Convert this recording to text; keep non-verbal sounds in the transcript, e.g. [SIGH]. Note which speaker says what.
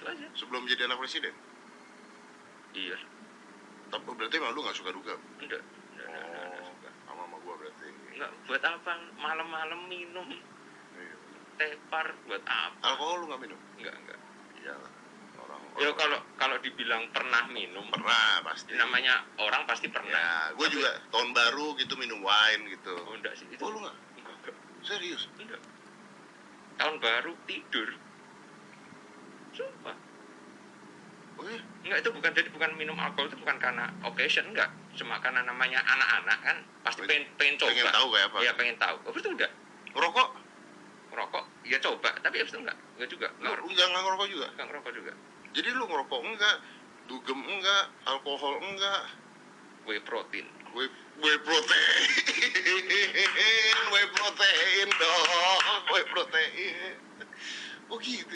Speaker 1: aja
Speaker 2: sebelum jadi anak presiden
Speaker 1: iya
Speaker 2: tapi berarti malu lu nggak suka duka
Speaker 1: enggak enggak enggak, enggak, enggak suka
Speaker 2: sama sama gua berarti
Speaker 1: enggak buat apa malam-malam minum
Speaker 2: Iya.
Speaker 1: teh par buat apa
Speaker 2: alkohol lu nggak minum
Speaker 1: enggak enggak
Speaker 2: iya orang,
Speaker 1: ya
Speaker 2: orang
Speaker 1: kalau kalau dibilang pernah minum ya
Speaker 2: pernah pasti Iya.
Speaker 1: namanya orang pasti pernah
Speaker 2: ya gua
Speaker 1: Tapi-
Speaker 2: juga tahun baru gitu minum wine gitu
Speaker 1: oh enggak sih itu
Speaker 2: oh lu nggak
Speaker 1: enggak, enggak.
Speaker 2: serius
Speaker 1: Enggak. Tahun baru tidur. Sumpah.
Speaker 2: oh iya
Speaker 1: Enggak itu bukan jadi bukan minum alkohol itu bukan karena occasion enggak. Cuma karena namanya anak-anak kan pasti pengen pengen coba.
Speaker 2: pengen tahu kayak apa
Speaker 1: Iya pengen tahu. Habis itu udah
Speaker 2: ngerokok
Speaker 1: ngerokok, ya coba. Tapi habis itu enggak, enggak juga.
Speaker 2: lu
Speaker 1: Enggak, ngerokok.
Speaker 2: enggak nggak ngerokok juga
Speaker 1: enggak ngerokok juga.
Speaker 2: jadi lu ngerokok enggak dugem enggak alkohol enggak
Speaker 1: Whey protein.
Speaker 2: Whey, whey protein, [LAUGHS] whey protein dong, whey protein. Oh gitu.